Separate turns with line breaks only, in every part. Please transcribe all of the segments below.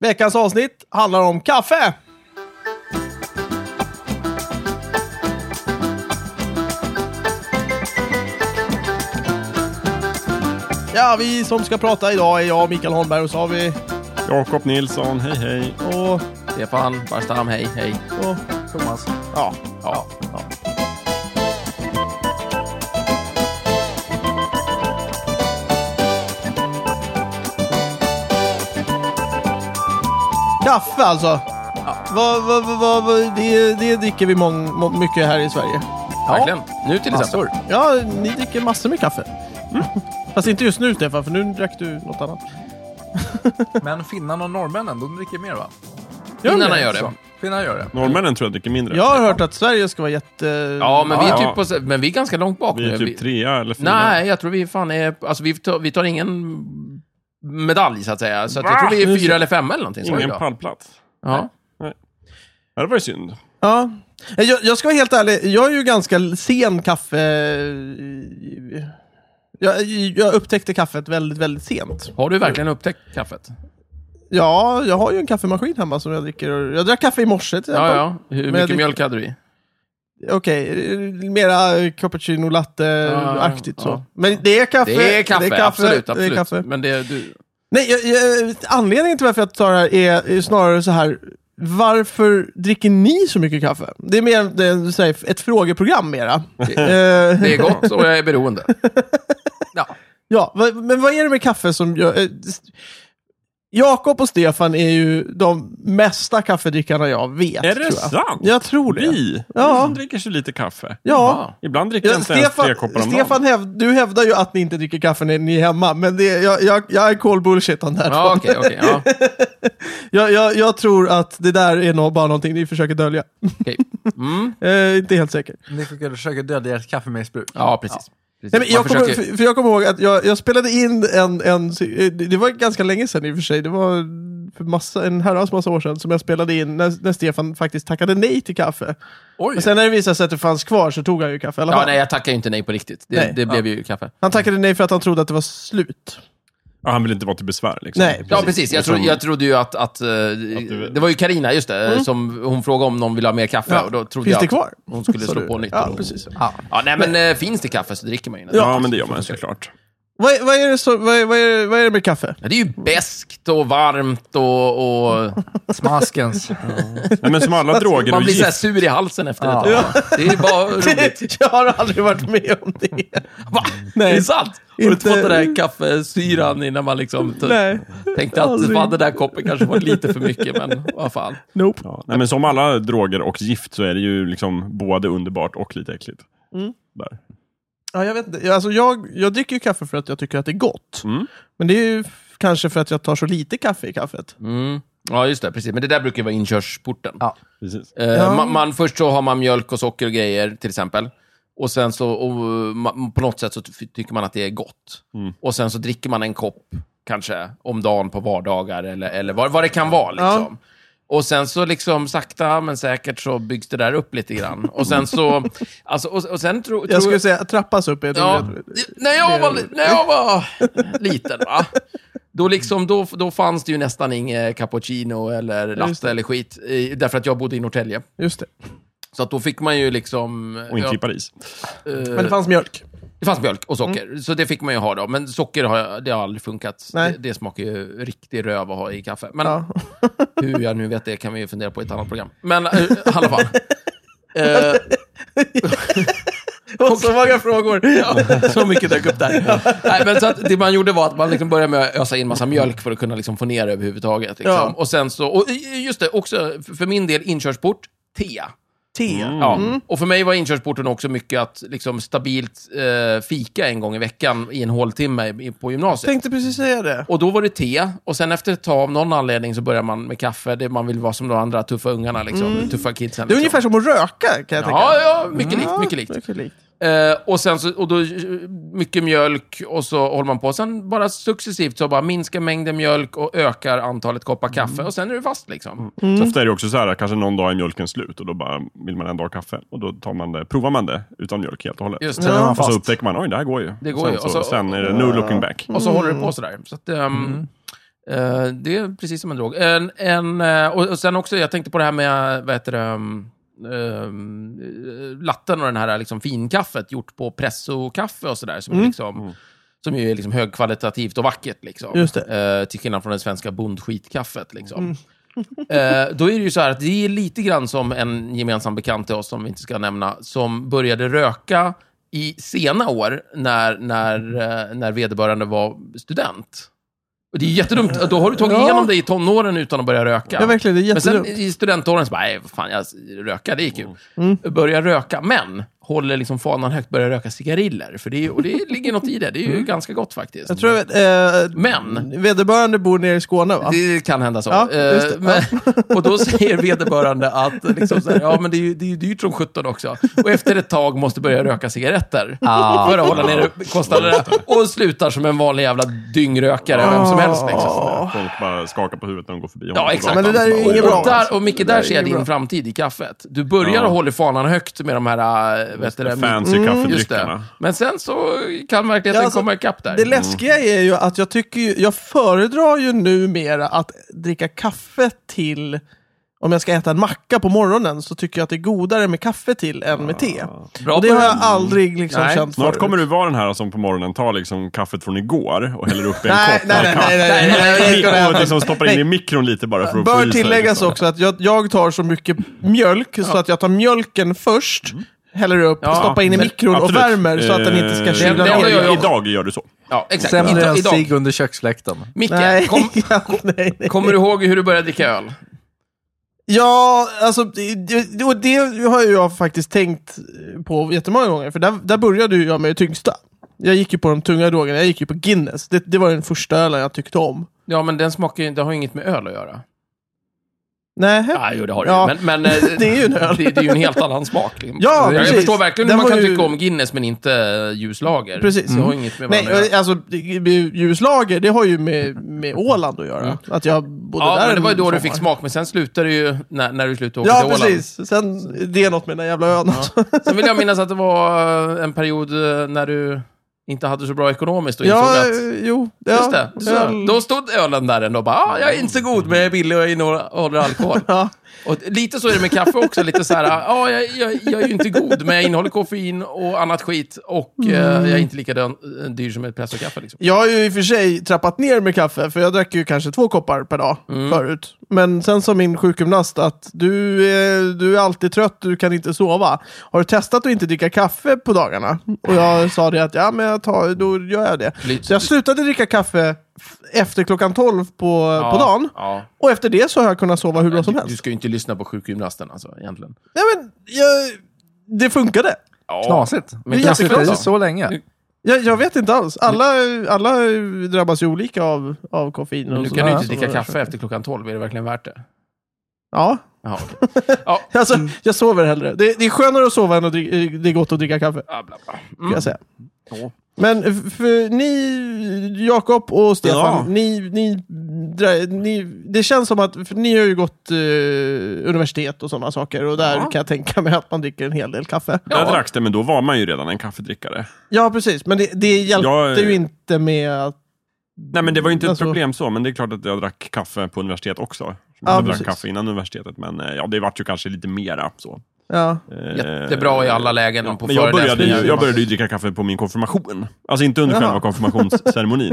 Veckans avsnitt handlar om kaffe. Ja, vi som ska prata idag är jag, Mikael Holmberg, och så har vi...
Jakob Nilsson, hej hej.
Och,
Stefan Barstam, hej, hej.
och,
Thomas.
ja,
Ja, ja.
kaffe alltså. Vad- vad- vad- vad- vad- det, det dricker vi mång, må, mycket här i Sverige.
Verkligen. Nu till exempel.
Ja, ni dricker massor med kaffe.
Mm.
Fast inte just nu, Stefan, för nu drack du något annat.
Men finnarna och norrmännen, de dricker mer va?
Gör ni
Finnarna gör det.
Så, Finnar gör det.
Norrmännen tror jag dricker mindre.
Jag har hört att Sverige ska vara jätte...
Ja, men vi är,
Ja, ja.
typ på, men vi är ganska långt bak
Vi
nu.
är typ trea eller fyra.
Nej, jag tror vi fan är... Alltså, vi tar, vi tar ingen medalj, så att säga. Så att jag tror vi är fyra eller femma eller någonting. så
Ingen
idag.
pallplats.
Ja.
Ja, det var ju synd.
Ja. Eh, Jag, jag ska vara helt ärlig, jag är ju ganska sen kaffe... eh, Jag, jag upptäckte kaffet väldigt, väldigt sent.
Har du verkligen upptäckt kaffet?
Ja, jag har ju en kaffemaskin hemma som jag dricker. Jag drack kaffe i morse till
Ja,
exempel.
ja. Hur
Men
mycket
jag dricker-
mjölk hade du i?
Okej, eh, mera cappuccino latte-aktigt
Ja,
så.
ja.
Men det är kaffe.
Det är kaffe, absolut.
Det är
absolut.
kaffe.
Men det är du...
Nej, jag, jag, anledningen till varför jag tar det här är är snarare så här. Varför dricker ni så mycket kaffe? Det är mer det är, så här, ett frågeprogram mera. Eh,
Det är gott och jag är beroende.
Ja.
Ja, vad- men vad är det med kaffe som gör... eh, s- Jakob och Stefan är ju de mesta kaffedrickarna jag vet.
Är det
tror jag.
sant?
Jag tror det.
Vi
Ja.
som dricker så lite kaffe.
Ja.
Ibland dricker
Ja,
jag inte ens tre koppar om
Stefan
dagen.
häv, du hävdar ju att ni inte dricker kaffe när ni är hemma, men det, jag, jag, jag är call bullshit on that
Ja,
one.
okej, okej. ja.
jag, jag, jag tror att det där är nog bara någonting ni försöker dölja.
okej. Mm.
Eh, inte helt säker.
Ni försöker- försöker dölja ert kaffemissbruk.
ja, precis. precis.
Nej, men jag,
Man
kommer,
försöker-
för- för jag kommer ihåg att jag, jag spelade in en, en, det var ganska länge sedan i och för sig, det var för massa, en herrans massa år sedan som jag spelade in när, när Stefan faktiskt tackade nej till kaffe.
Oj!
Men sen när det visade sig att det fanns kvar så tog han ju kaffe i alla
Ja,
fall.
nej, jag tackar ju inte nej på riktigt. Det,
Nej.
det blev ju kaffe.
Han tackade nej för att han trodde att det var slut.
Ja, han vill inte vara till besvär liksom.
Nej.
Ja, precis. Jag, trodde- jag trodde ju att... att, eh,
du-
det var ju Karina just det, som hon frågade om någon ville ha mer kaffe.
Mm. Ja.
Och då trodde
Finns
jag
det
att
kvar?
Hon skulle
Sa
slå
du?
på nytt.
Ja, precis.
Ja.
Ja, nej, men eh, finns det kaffe så dricker man ju det.
Ja, men det gör man såklart.
Vad, vad, är det så, vad, är- vad, är, vad är det med kaffe?
Ja, Det är ju beskt och varmt och... och
Smaskens.
Nej, men som alla droger
man
och
blir så här
gift.
sur i halsen efter
Ja.
det. Det är bara roligt.
jag har aldrig varit med om det.
Va?
Nej.
Är det sant? Har du inte
Inte-
fått den där kaffesyran innan man liksom t-
Nej.
tänkte att
Aldrig.
fan, den där koppen kanske var lite för mycket, men vad fan.
Nope.
Ja. Nej, men som alla droger och gift så är det ju liksom både underbart och lite äckligt. Där.
Ja, jag, vet inte. Jag- Alltså, jag, jag dricker ju kaffe för att jag tycker att det är gott.
Mm.
Men det är ju f- kanske för att jag tar så lite kaffe i kaffet.
Mm. Ja, just det. Precis. Men det där brukar ju vara inkörsporten.
Ja.
Precis.
Eh,
Ja.
man, man, först så har man mjölk och socker och grejer, till exempel. Och sen så, och, eh, ma- på något sätt så ty- tycker man att det är gott.
Mm.
Och sen så dricker man en kopp, kanske, om dagen på vardagar eller, eller vad, vad det kan vara. Liksom. Och sen så liksom sakta men säkert så byggs det där upp lite grann. Och sen så, alltså, och, och sen tro,
Jag
tror
skulle säga trappas upp. Är det
Ja,
ordet.
när jag var, när jag var liten, va? Då, liksom, då, då fanns det ju nästan inget cappuccino eller
Just
latte eller skit. eh, Därför att jag bodde i Norrtälje.
Just det.
Så att då fick man ju liksom...
Och inte
ja,
i Paris.
eh,
Men det fanns mjölk.
det fanns mjölk och socker, så det fick man ju ha då. Men socker har, jag- det har aldrig funkat.
Nej.
Det, det smakar ju riktig röv att ha i kaffe. Men
Ja.
hur jag nu vet det kan vi ju fundera på i ett annat program. Men eh, i alla fall. Eh,
Och så många frågor.
Ja, så mycket dök upp där. Nej, men så att det man gjorde var att man liksom började med att ösa in massa mjölk för att kunna liksom få ner det överhuvudtaget. Liksom.
Ja.
Och sen så, och just det, också för min del inkörsport, te.
Te.
Ja. Och för mig var inkörsporten också mycket att liksom stabilt eh, fika en gång i veckan i en håltimme i- på gymnasiet.
Tänkte precis säga det.
Och då var det te, och sen efter ett tag av någon anledning så börjar man med kaffe. Det man vill vara som de andra tuffa ungarna, liksom. tuffa kidsen.
Mm. Det är
liksom.
ungefär som att röka kan jag tänka.
Ja, ja, mycket likt, mycket likt.
Mycket likt.
Eh, och sen så, och då, eh, mycket mjölk och så håller man på. Sen bara successivt så bara minskar mängden mjölk och ökar antalet koppar kaffe och sen är du fast liksom.
Mm.
Så ofta är det också så här, kanske någon dag är mjölken slut och då bara vill man en dag kaffe. Och då tar man det, provar man det utan mjölk helt och hållet.
Just
Sen
det.
är man
Och så
fast.
upptäcker man, oj det här går ju.
Det går
sen,
ju. Alltså,
Så,
Och så-
sen är det no looking back.
Och så håller du på sådär. Så att, ehm, Eh, det är precis som en drog. En, en, eh, och, och sen också, jag tänkte på det här med, vad heter det, um, um, eh, latten och den här liksom, finkaffet gjort på pressokaffe och sådär. Som, är liksom, som ju är liksom högkvalitativt och vackert. Liksom.
Just
Eh, till skillnad från det svenska bondskitkaffet. Liksom. Eh, då är det ju så här att det är lite grann som en gemensam bekant till oss, som vi inte ska nämna, som började röka i sena år när, när, eh, när vederbörande var student. Och det är jättedumt. Då har du tagit
Ja.
igenom dig i tonåren utan att börja röka.
Ja, verkligen. Det är
Men sen
jättedumt. Mm.
i studentåren så bara, nej, vad fan, jag röka, det är kul. Börja röka, men håller liksom fanan högt, börja röka cigariller. För det, är, och det ligger något i det. Det är ju ganska gott faktiskt.
Mm. Jag tror att, eh,
Men-
vederbörande bor nere i Skåne va?
Det kan hända så.
Ja,
Eh,
just det.
men, och då säger vederbörande att liksom så här, ja, men det, är ju, det är ju dyrt som 17 också. Och efter ett tag måste börja röka cigaretter.
Ah.
För att hålla nere kostnaderna. Och slutar som en vanlig jävla dyngrökare, vem som helst. Liksom.
Folk bara skakar på huvudet när de går förbi honom.
Ja, exakt.
Men det där är ju
Bara,
inget bra.
"Oj,
Och, där, och Micke, där ser jag
inget
din
bra.
framtid i kaffet. Du börjar och håller fanan högt med de här, äh, vet du det,
Fancy
Just det.
kaffedrickarna.
Men sen så kan verkligheten
Ja, alltså,
komma ikapp där.
Det läskiga är ju att jag tycker ju, jag föredrar ju numera att dricka kaffe till om jag ska äta en macka på morgonen så tycker jag att det är godare med kaffe till än med te.
Bra
Och det har jag
början.
aldrig liksom
Nej.
känt
Snart
förut.
kommer du vara den här som på morgonen tar liksom kaffet från igår och häller upp i en
Nej,
kopp.
nej, nej, nej, nej, nej, nej, nej, nej,
Och
nej,
liksom stoppar in
nej.
i mikron lite bara för att få i
Bör
sig,
tilläggas
liksom.
också att jag, jag tar så mycket mjölk så att jag tar mjölken först, häller upp,
Mm. Ja,
stoppar in i
men-
mikron och
Absolut.
värmer så att den inte ska
Eh,
kyla
det har
ner.
jag ju-
Idag gör du så.
Ja, exakt.
Sämre
Idag,
än
idag.
cigg under köksfläkten.
Nej,
Micke, kom,
ja, nej, nej.
kommer du ihåg hur du började dricka öl?
Ja, alltså, det- det- och det har ju jag faktiskt tänkt på jättemånga gånger. För där, där började ju jag med det tyngsta. Jag gick ju på de tunga drogerna, jag gick ju på Guinness. Det, det var den första ölen jag tyckte om.
Ja, men den smakar ju, det har ju inget med öl att göra.
Nej.
Ja, jo, det har det
Ja,
ju. Men, men eh,
det är ju en öl.
Det, det är ju en helt annan smak. Liksom.
Ja,
jag
precis.
förstår verkligen
Den
hur man
var
kan
ju-
tycka om Guinness, men inte eh, ljuslager. Mm.
Precis.
Det har inget med varandra att
Nej,
göra.
alltså det- ljuslager, det har ju med, med Åland att göra. Att jag bodde
Mm.
där
Ja, men det var ju
en
då du
sommar.
fick smak, men sen slutade det ju när, när du slutade åka
Ja,
till Åland.
precis. Sen, det är något med den där jävla ön också.
Sen vill jag minnas att det var eh, en period eh, när du inte hade så bra ekonomiskt och insåg
Ja,
att...
jo. Ja,
Just det. Så,
öl.
då stod ölen där ändå och bara, ah, jag är inte så god, men jag är billig och innehåller alkohol.
Ja.
Och lite så är det med kaffe också, lite så här, ah, jag, jag, jag är ju inte god, men jag innehåller koffein och annat skit och eh,
Mm.
jag är inte lika dön- eh, dyr som ett pressokaffe. Liksom.
Jag har ju i och för sig trappat ner med kaffe, för jag drack ju kanske två koppar per dag
Mm.
förut. Men sen sa min sjukgymnast att du, eh, du är alltid trött, du kan inte sova. Har du testat att inte dricka kaffe på dagarna? Och jag sa det att ja, men jag tar, då gör jag det.
Lite-
Så jag slutade dricka kaffe f- efter klockan 12 på, på dagen.
Ja.
Och efter det så har jag kunnat sova hur bra som
Du,
helst.
du ska ju inte lyssna på sjukgymnasten alltså, egentligen.
Nej, men jag, det funkade.
Ja.
Knasigt.
Men Mm.
Men
jag
jag
tycker
sitter i
också.
så länge.
Jag, jag vet inte alls. Alla, alla drabbas ju olika av, av koffein. och
Nu kan
sådana
du
här
inte dricka
saker.
kaffe efter klockan 12, är det verkligen värt det?
Ja,
Jaha, okej. ja, Mm.
Alltså, jag sover hellre. Det, det är skönare att sova än att dricka, det är gott att dricka kaffe.
bla, bla, bla. Mm.
Kan jag säga. Men f- för ni, Jakob och Stefan,
Ja.
ni, ni, dra- ni, det känns som att för ni har ju gått eh, universitet och sådana saker och där kan jag tänka mig att man dricker en hel del kaffe.
Där dracks det, men då var man ju redan en kaffedrickare.
Ja, precis. Men det, det hjälpte
Jag-
eh,
ju inte med att...
Nej, men det var ju inte ett
Alltså-
problem så, men det är klart att jag drack kaffe på universitet också.
Ja,
Jag drack
precis.
kaffe innan universitetet, men eh, ja, det vart ju kanske lite mera så.
Ja,
Eh,
Jättebra i alla lägen och på
Men jag började, ju,
föreläsningar.
jag började ju dricka kaffe på min konfirmation. Alltså inte under
Jaha.
själva konfirmationsceremonin,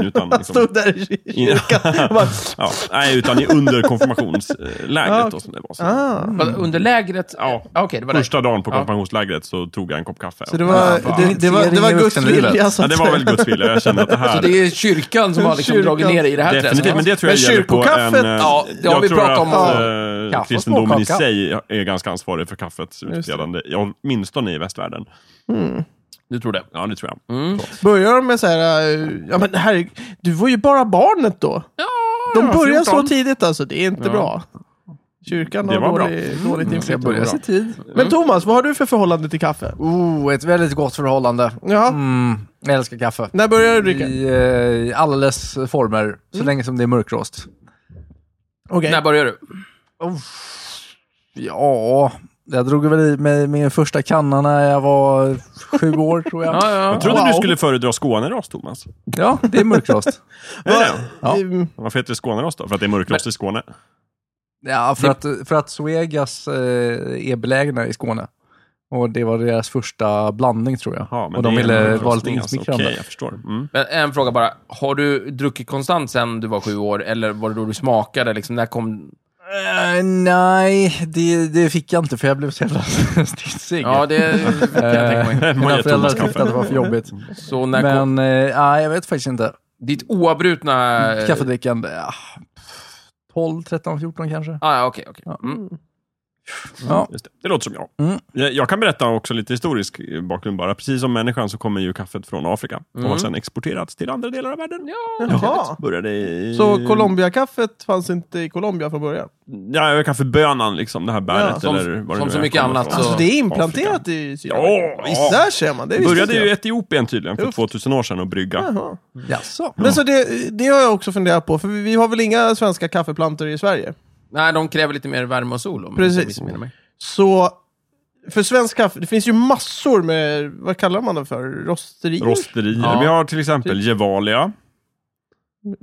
utan
han
liksom,
stod där i kyrkan och bara...
ja, nej, utan i under konfirmationslägret.
Ja,
då, som det var. Så.
Ah.
Vad, Under lägret?
Ja.
Okej, det var det.
Första dagen på
Ja.
konfirmationslägret så tog jag en kopp kaffe.
Så det var,
Ja,
det, det var, det var
Initiering i
Guds
vuxenlivet.
vilja. så
ja,
att
det var
säga.
väl Guds vilja. Jag kände att det
Så
här...
det är kyrkan som har liksom
Kyrkan.
dragit ner i det här
Definitivt, men
träsket?
det tror
Men
jag gäller på
kyrkokaffet-
en... eh,
Ja, det har
jag
vi
tror
pratat om.
att eh,
Kaffe och
kristendomen i
småkaka.
sig är ganska ansvarig för kaffets utbredande, ja, åtminstone i västvärlden.
Du tror det? Mm.
Ja, det tror jag.
Börjar de med så här, eh, ja men herregud, du var ju bara barnet då. de börjar så tidigt alltså, det är inte bra. Kyrkan
Det
har
var bra. Mm.
dålig, dåligt
Jag
inflytande.
börjar i tid.
Men Thomas, vad har du för förhållande till kaffe?
Oh, ett väldigt gott förhållande.
Jaha,
Mm, jag älskar kaffe.
när började du
I,
dricka?
eh, i alla dess former, så länge som det är mörkrost.
Okej.
När börjar du?
Ja, Jag drog väl i mig min första kanna när jag var sju år tror jag.
Ja, ja.
Jag trodde
Wow.
du skulle föredra Skånerost, Thomas.
Ja, det är mörkrost.
Är det?
Ja.
Ehm,
Varför heter det Skånerost då? För att det är mörkrost i Skåne?
Ja, för att, för att Suegas eh, är belägna i Skåne. Och det var deras första blandning tror jag.
Ja, men
och de
det är en
ville vara lite
röstning, alltså.
insmickrande.
Okej, jag förstår. Mm.
Men en fråga bara. Har du druckit konstant sen du var sju år? Eller var det då du smakade? Liksom, när kom...
Eh, nej, det, det fick jag inte för jag blev så jävla stissig.
Ja, det kan jag tänka mig.
Eh,
Man
mina
ger
föräldrar
Thomas
tyckte
kaffe.
att det var för jobbigt.
Mm.
Så när kom...
Men eh, ja, jag vet faktiskt inte.
Ditt oavbrutna... eh,
Kaffedrickande, ja, 12, 13, 14 kanske.
Ah, ja, okej, okej. Mm.
Ja.
Just det. det låter som jag.
Mm.
jag. Jag kan berätta också lite historisk eh, bakgrund bara. Precis som människan så kommer ju kaffet från Afrika och har
Mm.
sedan exporterats till andra delar av världen. Ja,
Jaha.
Började i...
Mm.
Så Colombia-kaffet fanns inte i Colombia från början?
Ja, kaffebönan liksom. Det här bäret
Ja, som-
eller vad det
som
nu
så
är,
mycket
kommer från.
annat så-
Alltså det är implanterat
Afrika.
i Sydamerika?
Ja, visst.
Där ser man, det visste
började
inte
ju i
jag.
Etiopien tydligen för
Uff.
2000 år sedan att brygga.
Jaha.
Jaså?
Men så det, det har jag också funderat på, för vi vi har väl inga svenska kaffeplantor i Sverige?
Nej, de kräver lite mer värme och sol. Om jag
Precis.
inte missminner mig.
Så, för svensk kaffe, det finns ju massor med, vad kallar man det för? Rosterier?
Rosterier.
Ja.
Vi har till exempel Gevalia,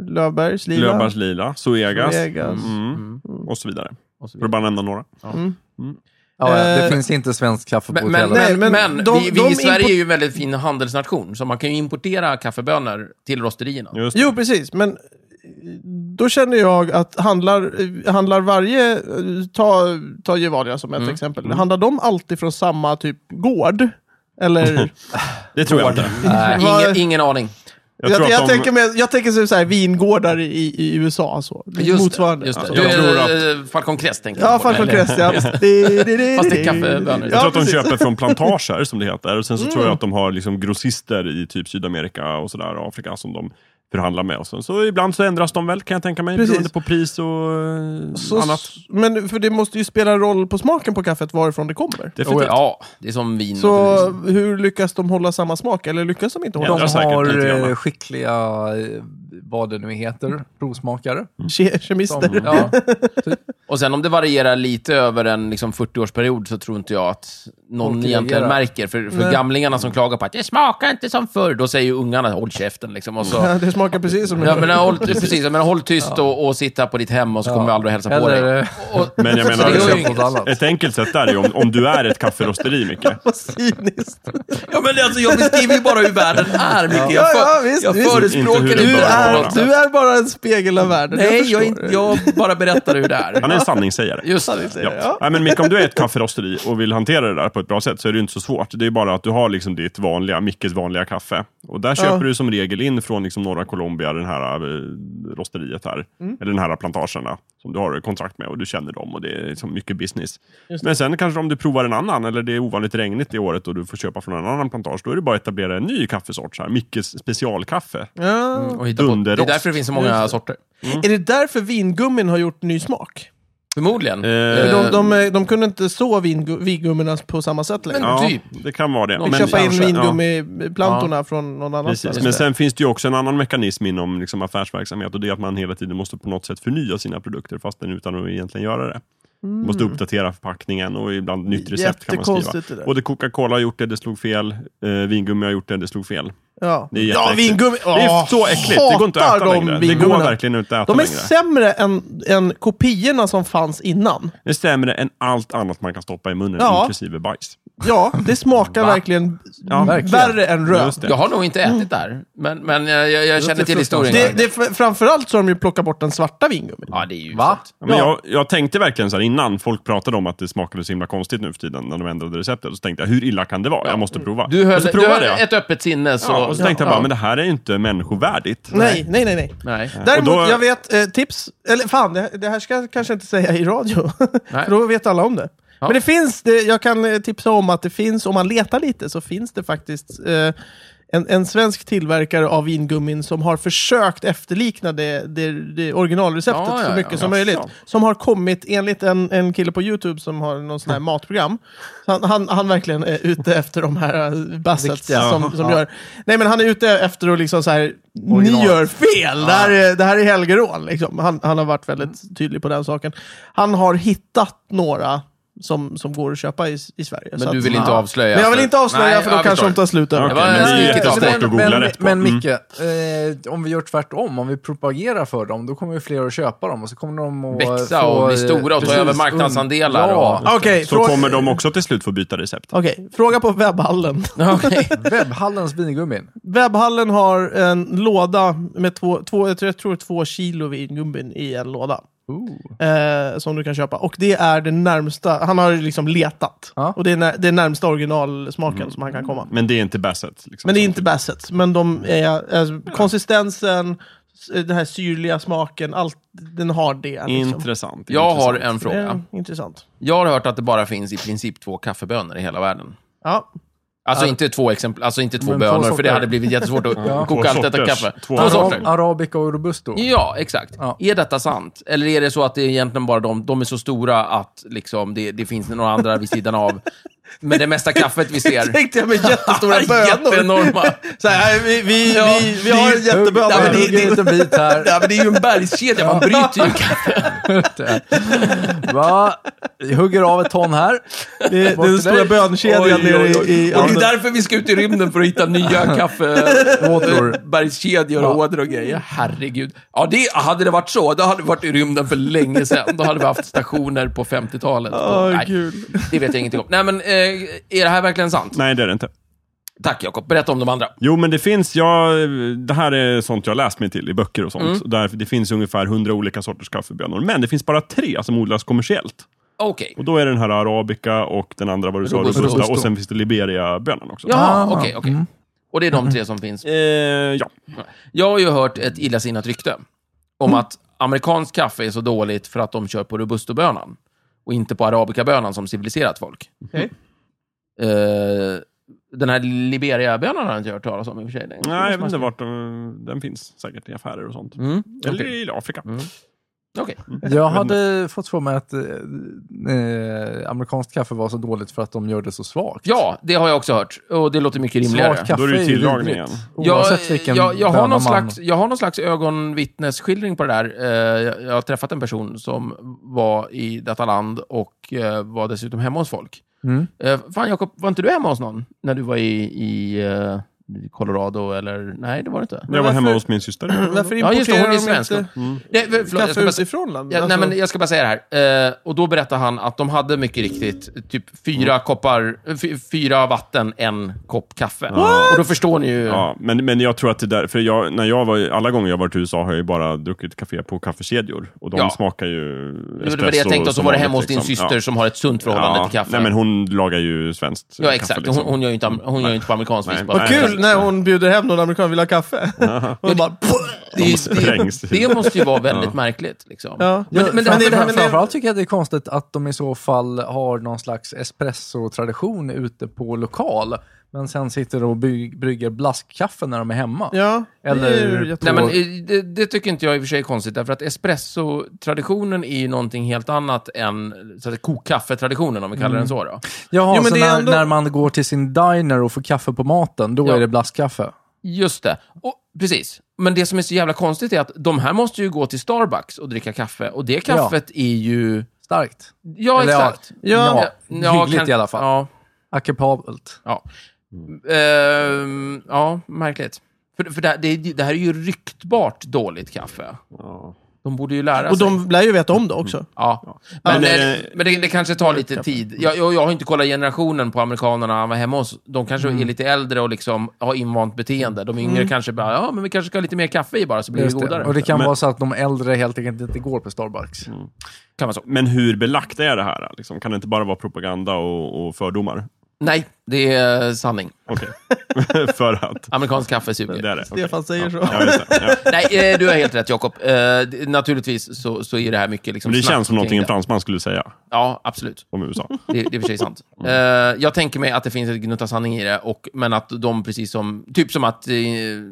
Löfbergs, Lila,
Löfbergs Lila, Zoegas
Vegas.
mm.
Mm.
och så vidare.
Och så
För att bara nämna några.
Ja, ja, det
Eh,
finns inte svensk kaffe på
Men, men,
hotellet.
Nej,
men,
men
men
de-
vi,
de
vi i Sverige
import-
är ju en väldigt fin handelsnation, så man kan ju importera kaffebönor till rosterierna.
Just
Jo, precis, men då känner jag att handlar, handlar varje, ta, ta Gevalia som ett
Mm.
exempel, handlar de alltid från samma typ gård? Eller?
Det tror jag inte.
Nej, ingen,
Vad-
ingen aning.
Jag,
Jag
jag,
tror att de-
tänker, med, jag tänker så så här, vingårdar i, i USA, så.
Just
motsvarande.
Det, just det.
Ja.
Du
Jag
är eh, Falcon Crest, tänker
Ja,
jag på,
Falcon
eller?
Crest, ja. Fast det
det är kaffebönor.
Jag tror att de
precis. Mm.
köper från plantager, som det heter. Och sen så tror jag att de har liksom grossister i typ Sydamerika och sådär, Afrika, som de förhandlar med. Och sen, så ibland så ändras de väl, kan jag tänka mig,
Precis.
beroende på pris och eh,
Så,
annat.
men för det måste ju spela en roll på smaken på kaffet varifrån det kommer.
Definitivt.
Oh, Ja, det är som vin.
Så
Mm.
hur lyckas de hålla samma smak, eller lyckas de inte hålla
Ja,
De
det är säkert lite
har
grann.
eh, skickliga, eh, vad det nu
Mm.
heter, provsmakare.
ke- kemister?
De,
Ja. Och sen om det varierar lite över en liksom 40-årsperiod så tror inte jag att någon
Folk
egentligen
reagerar.
märker. För, för gamlingarna som klagar på att det smakar inte som förr, då säger ju ungarna håll käften. Liksom, och så,
Ja, det smakar precis som
ja, men, håll, precis, men, håll tyst och, och sitta på ditt hem och så kommer vi aldrig att hälsa på
Eller,
dig.
eh,
Och,
Men jag
Så det går ju
menar,
inget.
något annat.
ett enkelt sätt där är ju om, om du är ett kafferosteri, Micke.
Vad cyniskt.
Ja, men alltså, jag beskriver ju bara hur världen är, Micke.
Ja, ja, visst,
jag
visst.
förespråkar
Inte hur den
inte
Du
bör
är,
vara.
du är bara en spegel av världen.
Nej, jag, är
förstår.
inte- jag bara berättar hur det är.
Han är en sanningssägare.
Just
Säger
Ja.
jag. Ja.
Nej, men Micke, om du är ett kafferosteri och vill hantera det där på ett bra sätt så är det ju inte så svårt. Det är ju bara att du har liksom ditt vanliga, Mickes vanliga kaffe. Och där köper du som regel in från liksom norra Colombia, den här eh, rosteriet här. Eller den här plantagerna som du har kontrakt med och du känner dem och det är liksom mycket business. Men sen kanske om du provar en annan eller det är ovanligt regnigt i året och du får köpa från en annan plantage, då är det bara att etablera en ny kaffesort. Så här. Mickes specialkaffe.
Och hitta på. Det är
Dunderost.
därför det finns så många sorter.
Mm.
Är det därför vingummin har gjort ny smak?
Förmodligen.
Eh,
För
Eh,
De, de, de kunde inte så vingu- vingummorna på samma sätt längre.
Men-
Ja,
typ.
det kan vara det.
Någon
Men,
Men-
köpa in
kanske, ja.
vingummiplantorna från någon annanstans.
Precis. Men sen finns det ju också en annan mekanism inom liksom affärsverksamhet och det är att man hela tiden måste på något sätt förnya sina produkter fastän utan att egentligen göra det. Måste uppdatera förpackningen och ibland nytt recept kan man
Mm. Jättekonstigt det
skriva.
där.
Både Coca-Cola har gjort det, det slog fel. Eh, vingummi har gjort det, det slog fel.
Ja,
Det är
ja
jätteäckligt.
vingummi!
Det är
Åh,
så äckligt. Det går inte att äta
hatar de
längre. Det går
vingummorna.
verkligen inte att äta
De är
längre.
sämre än, än kopiorna som fanns innan.
Det är sämre än allt annat man kan stoppa i munnen,
Ja.
inklusive bajs.
Ja, det smakar
Va?
verkligen
Ja,
värre än röd.
Just
jag har nog inte ätit där, men, men jag, jag, jag känner till historien.
Det, det, är framförallt så har de ju plockat bort den svarta vingummin.
Ja, det är ju
Va?
uselt.
Ja, Men jag, jag tänkte verkligen så här innan folk pratade om att det smakade så himla konstigt nu för tiden när de ändrade receptet. Så tänkte jag, hur illa kan det vara? Jag måste prova.
Du höll,
och så
du höll
provade jag.
ett öppet sinne. Så,
ja, och så tänkte
Ja.
jag bara, men det här är ju inte människovärdigt.
Nej, nej, nej. nej.
Nej.
Däremot,
Och då-
jag vet eh, tips, eller fan, det, det här ska jag kanske inte säga i radio,
Nej.
för då vet alla om det.
Ja.
Men det finns, det, jag kan eh, tipsa om att det finns, om man letar lite, så finns det faktiskt eh, en, en svensk tillverkare av vingummin som har försökt efterlikna det, det, det originalreceptet
Ja, ja,
så
ja.
mycket som
Jaså.
möjligt.
Alltså.
Som har kommit, enligt en, en kille på YouTube som har någon sån här matprogram, så han, han, han verkligen är ute efter de här eh, bassets
Riktiga.
som, som
Ja.
gör... Nej men han är ute efter att liksom så här,
Original.
ni gör fel! Det, här är, det här är helgerån. Liksom. Han, han har varit väldigt tydlig på den saken. Han har hittat några som, som går att köpa i, i Sverige. så
Men du
att-
vill inte
Ja.
avslöja?
Men jag vill
för-
inte avslöja
Nej,
för då
jag
kanske
förstår.
de tar slut över.
Okej, men det är ju
Ja,
jättesvårt
men-
att googla
men,
rätt på.
Men
Mm.
Micke, eh, om vi gör tvärtom, om vi propagerar för dem, då kommer ju fler att köpa dem och så kommer de att
Växa
få,
och bli
eh,
stora och ta
precis,
över marknadsandelar
un-
och-
Ja,
Okej,
Så
frå-
kommer de också till slut få byta recept.
Okej, fråga på webbhallen.
Okej.
webbhallens vingummin.
Webbhallen har en låda med två, två, jag tror två kilo vingumbin i en låda. Eh, som du kan köpa. Och det är det närmsta, han har liksom letat.
Ja.
Och det är, när, det är närmsta originalsmaken som han kan komma.
Men det är inte Bassett. Liksom.
Men det är inte Bassett. Men de är, alltså, konsistensen, s- den här syrliga smaken, allt, den har det. Liksom.
Intressant.
Jag har
intressant.
en
Det är
fråga.
intressant.
Jag har hört att det bara finns i princip två kaffebönor i hela världen.
Ja.
Alltså inte två exempel, alltså inte två
Men två
bönor, för det
sorter.
hade blivit jättesvårt att
Ja.
koka
Två
allt detta
sorters.
kaffe.
Två
Två,
Arab-
sorter.
Ara- Arabica och Robusto.
Ja, exakt.
Ja.
Är detta sant? Eller är det så att det är egentligen bara de, de är så stora att liksom, det, det finns några andra vid sidan av? Men det mesta kaffet vi ser...
Tänkte jag med jättestora bönor.
Jätteenorma.
Så här, vi, vi,
Ja,
vi, vi har en jättebön. men
Hugg- där
det-
hugger en liten bit här.
Ja, men det är ju en bergskedja, man bryter ju kaffe.
Va? Vi hugger av ett ton här.
Det är
Bort
den
till
stora
dig.
bönkedjan
Oj,
nere
oj, oj.
i... i
Och det är därför vi ska ut i rymden, för att hitta nya
Ådror.
kaffebergskedjor och ådror och grejer. Herregud. Ja, det, hade det varit så, då hade vi varit i rymden för länge sedan. Då hade vi haft stationer på 50-talet.
Åh,
Nej,
kul.
det vet jag ingenting om. Nej, men eh, är det här verkligen sant?
Nej, det är det inte.
Tack, Jakob. Berätta om de andra.
Jo, men det finns, jag, det här är sånt jag läst mig till i böcker och sånt. Där det finns ungefär hundra olika sorters kaffebönor. Men det finns bara tre som odlas kommersiellt.
Okej.
Och då är det den här arabica och den andra, vad du sa,
Robusta.
robusta. Och
Robusta.
sen finns det liberia-bönan också.
Jaha,
Ah.
okej, okej.
Mm.
Och det är de tre som finns.
Eh, ja.
Jag har ju hört ett illasinnat rykte om
Mm.
att amerikanskt kaffe är så dåligt för att de kör på robustobönan och inte på arabicabönan som civiliserat folk.
Okej.
Eh, den här Liberiabönan har jag inte hört talas om i och för sig. Den-
Nej, jag vet inte vart de, den finns. Säkert i affärer och sånt.
Mm,
Eller
okej.
i Afrika.
Okej.
Jag hade fått för mig att eh, eh, amerikanskt kaffe var så dåligt för att de gör det så svagt.
Ja, det har jag också hört. Och det låter mycket rimligare.
Svagt kaffe
Då är det ju
ju
tillagningen.
vidrigt,
Jag,
Oavsett vilken
jag, jag, har
böna
någon
man-
slags, jag har någon slags ögonvittnesskildring på det där. Eh, jag, jag har träffat en person som var i detta land och eh, var dessutom hemma hos folk.
Mm.
Eh, fan Jakob, var inte du hemma hos någon när du var i, i eh, Colorado? Eller? Nej, det var det inte.
Jag var hemma
alltså-
varför-
hos min syster.
Varför
Ja, just det,
importerar
hon är
de
svensk.
inte
Nej, för- förlåt, jag
kaffe
ska bara,
utifrån landet?
Ja,
Alltså,
nej, men jag ska bara säga det här. Eh, och då berättar han att de hade mycket riktigt typ fyra
Mm.
koppar, fy- fyra vatten, en kopp kaffe. Och då förstår ni ju.
Ja, men, men jag tror att det där, för jag, när jag var, alla gånger jag varit i USA har jag ju bara druckit kafé på kaffekedjor. Och de
Ja.
smakar ju
det var det jag tänkte och så
som
var det
vanligt,
hemma hos din
liksom.
syster
Ja.
som har ett sunt förhållande till kaffe.
Nej, men hon lagar ju svenskt
ja, exakt.
kaffe. Liksom.
Hon, hon gör ju inte, am- hon gör ju inte på amerikansk vis.
Nej.
bara.
Vad kul när hon bjuder hem någon amerikan och vill ha kaffe. och bara...
Det,
sprängs.
det, det måste ju vara väldigt märkligt. Liksom.
Ja.
Men, men, det,
men
det-
fram-
men det-
framförallt tycker jag det är konstigt att de i så fall har någon slags espresso-tradition ute på lokal, men sen sitter och by- brygger blaskkaffe när de är hemma.
Ja,
Eller-
det är ju jättebra.
Nej, men, eh, det, det tycker inte jag i och för sig är konstigt, därför att espresso-traditionen är ju någonting helt annat än så att, kokkaffetraditionen, om vi kallar
Mm.
den så. Då.
Jaha,
Jo, men
så
det är
när,
ändå-
när man går till sin diner och får kaffe på maten, då
Ja.
är det blaskkaffe.
Just det. Och, precis. Men det som är så jävla konstigt är att de här måste ju gå till Starbucks och dricka kaffe. Och det kaffet är ju...
Starkt.
Ja,
Eller ja,
exakt.
ja, hyggligt i alla fall.
Ja.
Akapabelt.
Ja,
Mm.
Ehm, ja märkligt. För, för det, här- det, det här är ju ryktbart dåligt kaffe.
Ja.
De borde ju lära
Och
sig.
de lär ju veta om det
Mm,
också.
Ja. Men,
Men,
eh,
eh,
men det, det kanske tar lite tid. Jag, jag, jag har inte kollat generationen på amerikanerna han var hemma hos. De kanske
Mm.
är lite äldre och liksom har invant beteende. De yngre kanske bara, ja, men vi kanske ska ha lite mer kaffe i bara så blir det
Just
godare. Mm.
det. Och det kan
Men-
vara så att de äldre helt enkelt inte går på Starbucks.
Kan vara så.
Men hur belagt är det här? Liksom? Kan det inte bara vara propaganda och, och fördomar?
Nej, det är eh, sanning.
Okej. För att
Amerikansk kaffe
det
suger.
är det. Okej.
Stefan säger så.
Ja, just det. Ja.
Nej, eh, du har helt rätt Jakob. Eh, det- naturligtvis så, så är det här mycket liksom
Men det
snack
känns som
kring
någonting en
det.
fransman skulle säga
Ja, absolut.
om USA.
Det, det är i och för sig sant.
Mm.
Eh, jag tänker mig att det finns ett gnutta sanning i det, och, men att de precis som... Typ som att... eh, nej,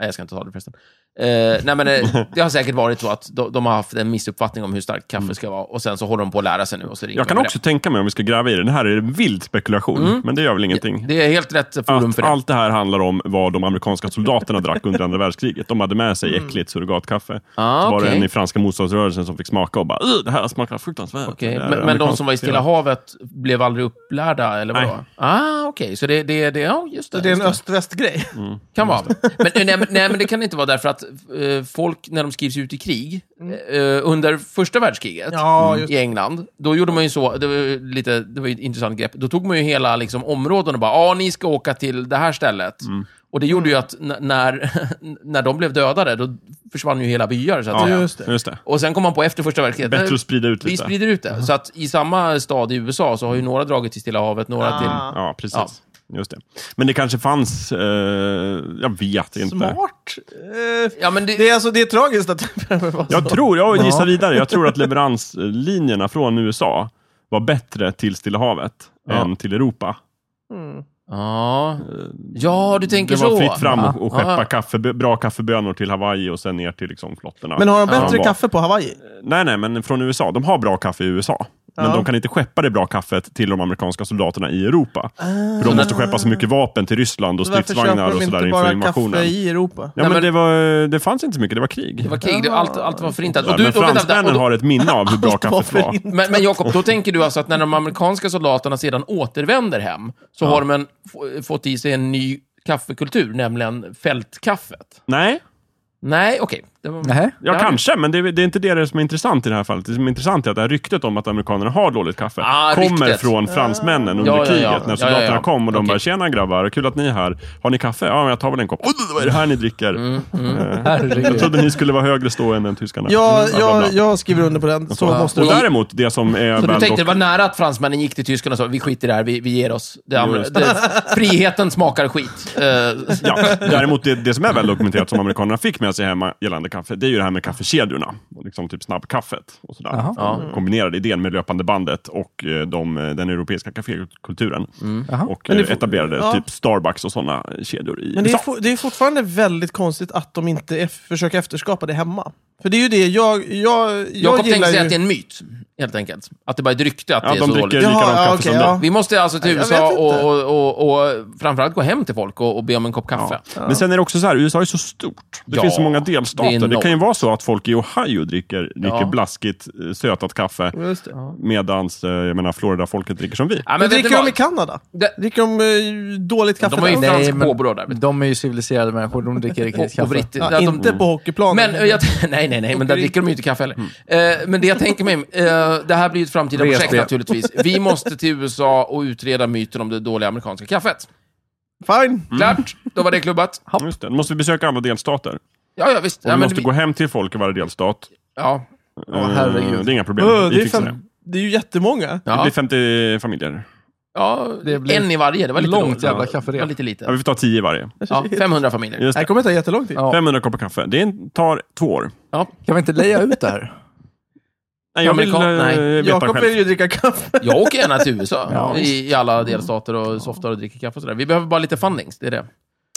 jag ska inte ta det förresten. Eh, nej men, eh, det har säkert varit så att de, de har haft en missuppfattning om hur starkt kaffe ska vara och sen så håller de på att lära sig nu och så ringer
Mm. Jag kan
de med
också tänka mig, om vi ska gräva i det, det här är vild spekulation, men det gör väl ingenting.
Mm. det. Det är helt rätt forum
Att
för det.
allt det här handlar om vad de amerikanska soldaterna drack under andra världskriget. De hade med sig äckligt surrogatkaffe.
Mm. Ah,
så var det
okej.
en i franska motståndsrörelsen som fick smaka och bara "Ugh, det här smakar fruktansvärt.
Okej,
Det här är
Men, men de
amerikanskt
som var i Stilla
baserat."
havet blev aldrig upplärda, eller vadå?
Nej.
Ah, okej. Så det, det, det, ja, just det.
Det är
just
en öst-väst-grej.
Mm,
Kan vara. Men, eh, nej, men- nej, men det kan inte vara därför att eh, folk, när de skrivs ut i krig,
Mm.
eh, under första världskriget
Ja, just
i England, då gjorde man ju så, det var ju, lite, det var ju ett intressant grepp, då tog man ju hela liksom, områden och bara, ja, ni ska åka till det här stället.
Mm.
Och det gjorde ju att n- när, när de blev dödade, då försvann ju hela byar, så att
Ja,
säga.
Just det.
Just det.
Och sen kom man på efter första världskriget.
Bättre
"Nej,
att sprida ut
vi
lite.
sprider ut det. Så att i samma stad i USA så har ju några dragit till Stilla havet, några
Ah.
till...
Mm. Ja, precis. Just det. Men det kanske fanns, eh, jag vet inte.
Smart. Eh,
Ja, men det,
Det är, alltså, det är tragiskt att det behöver vara så.
Jag tror, jag gissar vidare, jag tror att leveranslinjerna från USA var bättre till Stilla havet än till Europa.
Ja. ja, du tänker
Det
så.
var fritt fram
Ja.
och, och skeppa
Ja.
kaffe, bra kaffebönor till Hawaii och sen ner till liksom flottorna.
Men har de
Som
bättre
var-
kaffe på Hawaii?
Nej, nej, men från USA. De har bra kaffe i USA. Men
Ja.
de kan inte skeppa det bra kaffet till de amerikanska soldaterna i Europa. För de måste skeppa så mycket vapen till Ryssland och
Ah. Varför köper
stridsvagnar och
de
sådär
inte bara
inför
kaffe
invasionen.
i Europa?
Ja,
Nej,
men
men-
det, var, det fanns inte så mycket, det var krig.
Det var krig, det, allt, allt var förintat.
Ja,
Och du,
men
och vänta, vänta, och
fransmännen
då-
har ett minne av hur bra kaffet var.
förintat.
Men, men Jakob, då tänker du alltså att när de amerikanska soldaterna sedan återvänder hem, så har de en, f- fått i sig en ny kaffekultur, nämligen fältkaffet.
Nej,
Nej, okej. Det var-
Nej.
ja,
Ja,
kanske, men det, är- det är inte det som är intressant i det här fallet. Det som är intressant är att det här ryktet om att amerikanerna har dåligt kaffe
Ah,
kommer
ryktet.
från fransmännen under
Ja, ja, ja.
kriget.
Ja, ja,
När soldaterna
ja.
kom och de
Okej.
bara, tjena grabbar, kul att ni är här. Har ni kaffe? Ja, men jag tar väl en kopp. "Oj, Vad är det här ni dricker?
Mm.
Eh, Jag
Herregud.
trodde ni skulle vara högre stående än tyskarna. Mm.
Ja,
Bla, bla, bla.
jag, jag skriver under på den. Så måste
och
det vara.
däremot, det som är
Så du
väl
tänkte
dock-
det var nära att fransmännen gick till tyskarna och sa vi skiter i det här, vi, vi ger oss. Det,
Jo,
amer-
just
det, friheten smakar skit. Eh,
Ja, däremot det, det som är väl dokumenterat som amerikanerna fick med sig hemma gällande kaffe, det är ju det här med kaffekedjorna. Och liksom typ snabbkaffet och sådär.
Jaha.
Mm. Kombinerade idén med löpande bandet och eh, de, eh, den europeiska kafékulturen.
Jaha.
Och
Men det
eh,
får-
etablerade
ja.
typ Starbucks och sådana kedjor i
Men det är,
USA.
for, det är fortfarande väldigt konstigt att de inte eff- försöker efterskapa det hemma. För det är ju det jag... Jag, jag
Jakob tänkte
gillar
säga
ju...
att det är en myt, helt enkelt. Att det bara är ett rykte att
Ja,
det är
de
så
dricker
dåligt.
Jaha,
likadant
ja,
kaffe
okej,
som
ja.
de.
Vi måste alltså till
Jag vet
USA
inte.
och, och, och, och framförallt gå hem till folk och, och be om en kopp kaffe.
Men sen är det också så här, USA är så stort. Det
Ja,
finns så många
det är
delstater. Det,
enormt.
kan ju vara så att folk i Ohio dricker, dricker
Ja.
blaskigt eh, sötat kaffe,
Just det.
medans eh, jag menar, Florida-folket dricker som vi.
Ja,
Men
vet du
dricker de
vad?
i Kanada?
Det-
Dricker de eh, dåligt kaffe
De har ju
där?
fransk
men-
påbrå där. vet du.
De är ju civiliserade människor, de dricker riktigt
Och, och
kaffe.
britter.
Ja,
Ja, de-
inte på hockeyplanen.
Men, eh, jag, nej, nej, nej, men där dricker de ju inte kaffe heller. Eh, men det jag tänker mig, eh, det här blir ju ett framtida
VSB.
projekt naturligtvis. Vi måste till USA och utreda myten om det dåliga amerikanska kaffet.
Fine.
Klart, då var det klubbat.
Just det. Då måste vi besöka andra delstater.
Ja, ja,
Och
visst. Ja,
vi
men
måste
vi-
gå hem till folk i varje delstat.
ja.
Eh,
herregud.
Det är inga problem.
Ö,
vi
det, är
fixar
fem, det är ju jättemånga.
det. Det
Ja,
blir 50 familjer.
ja,
Det blir
en i varje. Det var lite
långt
dåligt.
jävla
Ja, Det
kafferep.
var lite
Ja,
lite.
vi får ta 10 i varje.
Ja, 500 familjer.
Just
Det här
det.
kommer ta jättelång tid.
Ja.
500 koppar kaffe. Det är- tar två år.
Ja.
Kan vi inte leja ut det här?
Nej, jag vill eh,
Amerikan- nej.
veta
Jakob vill
själv.
ju dricka kaffe.
Jag åker gärna till USA
Ja,
i, i alla delstater och softar och dricker kaffe och sådär. Vi behöver bara lite fundings, det är det.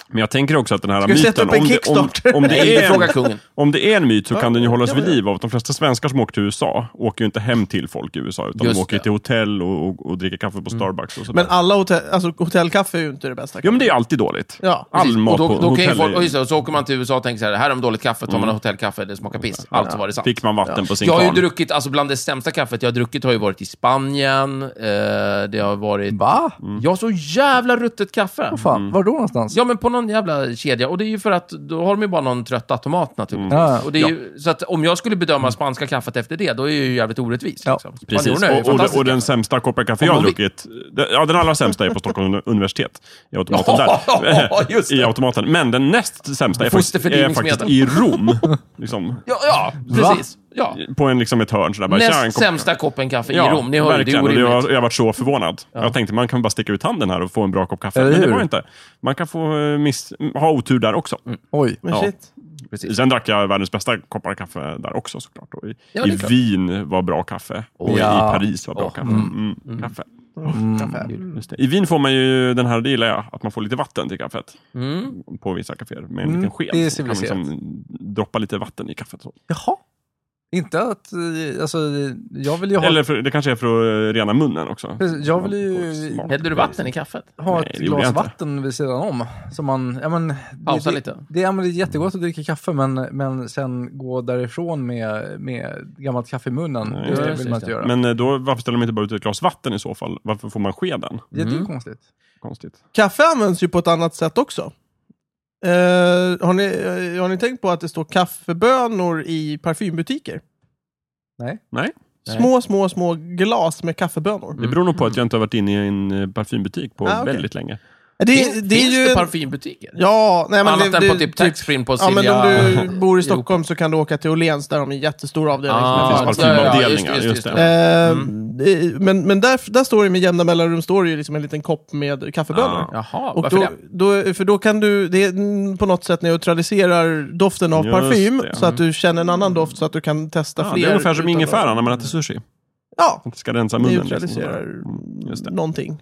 Men jag tänker också att den här
vi sätta
myten,
upp en
om det, om,
Kickstarter?
om,
Nej,
det
vi
är
frågar
en,
kungen.
om det är en myt så kan den ju hållas
ja,
vid
ja.
liv av att de flesta svenskar som åker till USA åker ju inte hem till folk i USA, utan
Just
de åker
det. Mm.
till hotell och, och, och dricker kaffe på Starbucks och sådär.
Men alla hotell, alltså, hotellkaffe är ju inte det bästa.
jo, men det är alltid dåligt.
Ja.
All mat
och då,
på
då kan ju
hotell
folk,
är-
och just det, och så åker man till USA och tänker så här, här är de dåligt kaffe, tar man hotellkaffe, det smakar piss. Alltså var det sant.
Fick man vatten på sin
Jag har ju
kvarn.
druckit, alltså bland det sämsta kaffet jag har druckit har ju varit i Spanien, eh, det har varit... Mm.
Va?
Jag har så jävla ruttet kaffe.
Vad fan, var då någonstans?
Ja, men på någon jävla kedja. Och det är ju för att då har de ju bara någon trött automat naturligtvis.
Ja.
Mm.
Och det är ju, så att om jag skulle bedöma spanska kaffet efter det, då är jag ju jävligt orättvis.
Ja,
Liksom.
Precis,
Spanjorerna är ju
och, och,
fantastiska.
och den sämsta koppen kaffe jag har
Om man
druckit, det- ja, den allra sämsta är på Stockholms universitet, i automaten
Ja,
där.
just det.
I automaten. Men den näst sämsta är faktiskt, är
Fosterfördrivningsmedel.
faktiskt i Rom. Liksom,
Ja, ja precis. Ja.
på en, liksom ett hörn. Sådär, bara, "Tja, en
Näst
kopp
sämsta koppen kaffe i Rom. Ni hör ju, det
verkligen.
är
Och det-
orimligt.
jag, jag har varit så förvånad. Jag tänkte man kan bara sticka ut handen här och få en bra kopp kaffe.
Eller
Men det
hur?
var inte. Man kan få eh, miss, ha otur där också.
Oj.
Men
Ja.
shit.
Mm, Precis.
Sen drack jag världens bästa koppar kaffe där också såklart. Och I,
Ja, det är
i
klart.
Wien var bra kaffe. och i-
Ja.
i Paris var bra kaffe. Mm, kaffe.
Oh, kaffe.
Just det. I Wien får man ju den här, det gillar jag, att man får lite vatten till kaffet.
Mm.
På vissa kaféer med en liten sked.
det är
så kan man
civiliserat.
liksom droppa lite vatten i kaffet. Så.
Jaha. Inte att... eh, Alltså, jag vill ju ha,
Eller för, det kanske är för att rena munnen också.
Precis, jag vill
Man
ju-
får smart
Hällde du
vis.
vatten i kaffet?
ha
Nej,
ett
det gjorde jag
glas
inte.
vatten vid sidan om. Så man, ja, men,
Pausa
det,
lite.
Det, ja, men det är jättegott att dricka kaffe, men, men sen gå därifrån med, med gammalt kaffe i munnen,
Nej,
det
just
vill
det,
man
just
inte
det.
göra.
Men eh, då, varför ställer de inte bara ut ett glas vatten i så fall? Varför får man skeden?
Det är ju konstigt.
Konstigt.
Kaffe används ju på ett annat sätt också. Eh, har, ni, eh, har ni tänkt på att det står kaffebönor i parfymbutiker?
Nej,
Nej. Mm.
Små, små, små glas med kaffebönor.
det beror nog på att jag inte har varit inne i en eh, parfymbutik på
Ah, okej.
väldigt länge.
Det,
Finns
det är ju...
det
en-
parfymbutiker?
Ja, nej men
Annat
det,
än på
det-
typ taxfree på
Ja, men
Silja...
om du bor i
Europa.
Stockholm så kan du åka till Åhléns där de är en jättestor avdelning. som
Ah,
är fyra-
Det finns
ja, ja, ja,
parfymavdelningar,
just det, Mm. just det,
just
just
det.
det.
Eh, det- Men, men där, där står det med jämna mellanrum står det ju liksom en liten kopp med kaffebönor.
Ja.
Jaha,
Och
varför
då,
det?
då, för då kan du, det är mm, på något sätt neutraliserar doften av
Just
parfym
det. Mm.
så att du känner en annan doft så att du kan testa
Ja,
fler.
Ah, det är ungefär som
utan
ingefära
att-
när man äter sushi.
Ja,
Man ska rensa munnen. liksom.
neutraliserar
Just det.
någonting.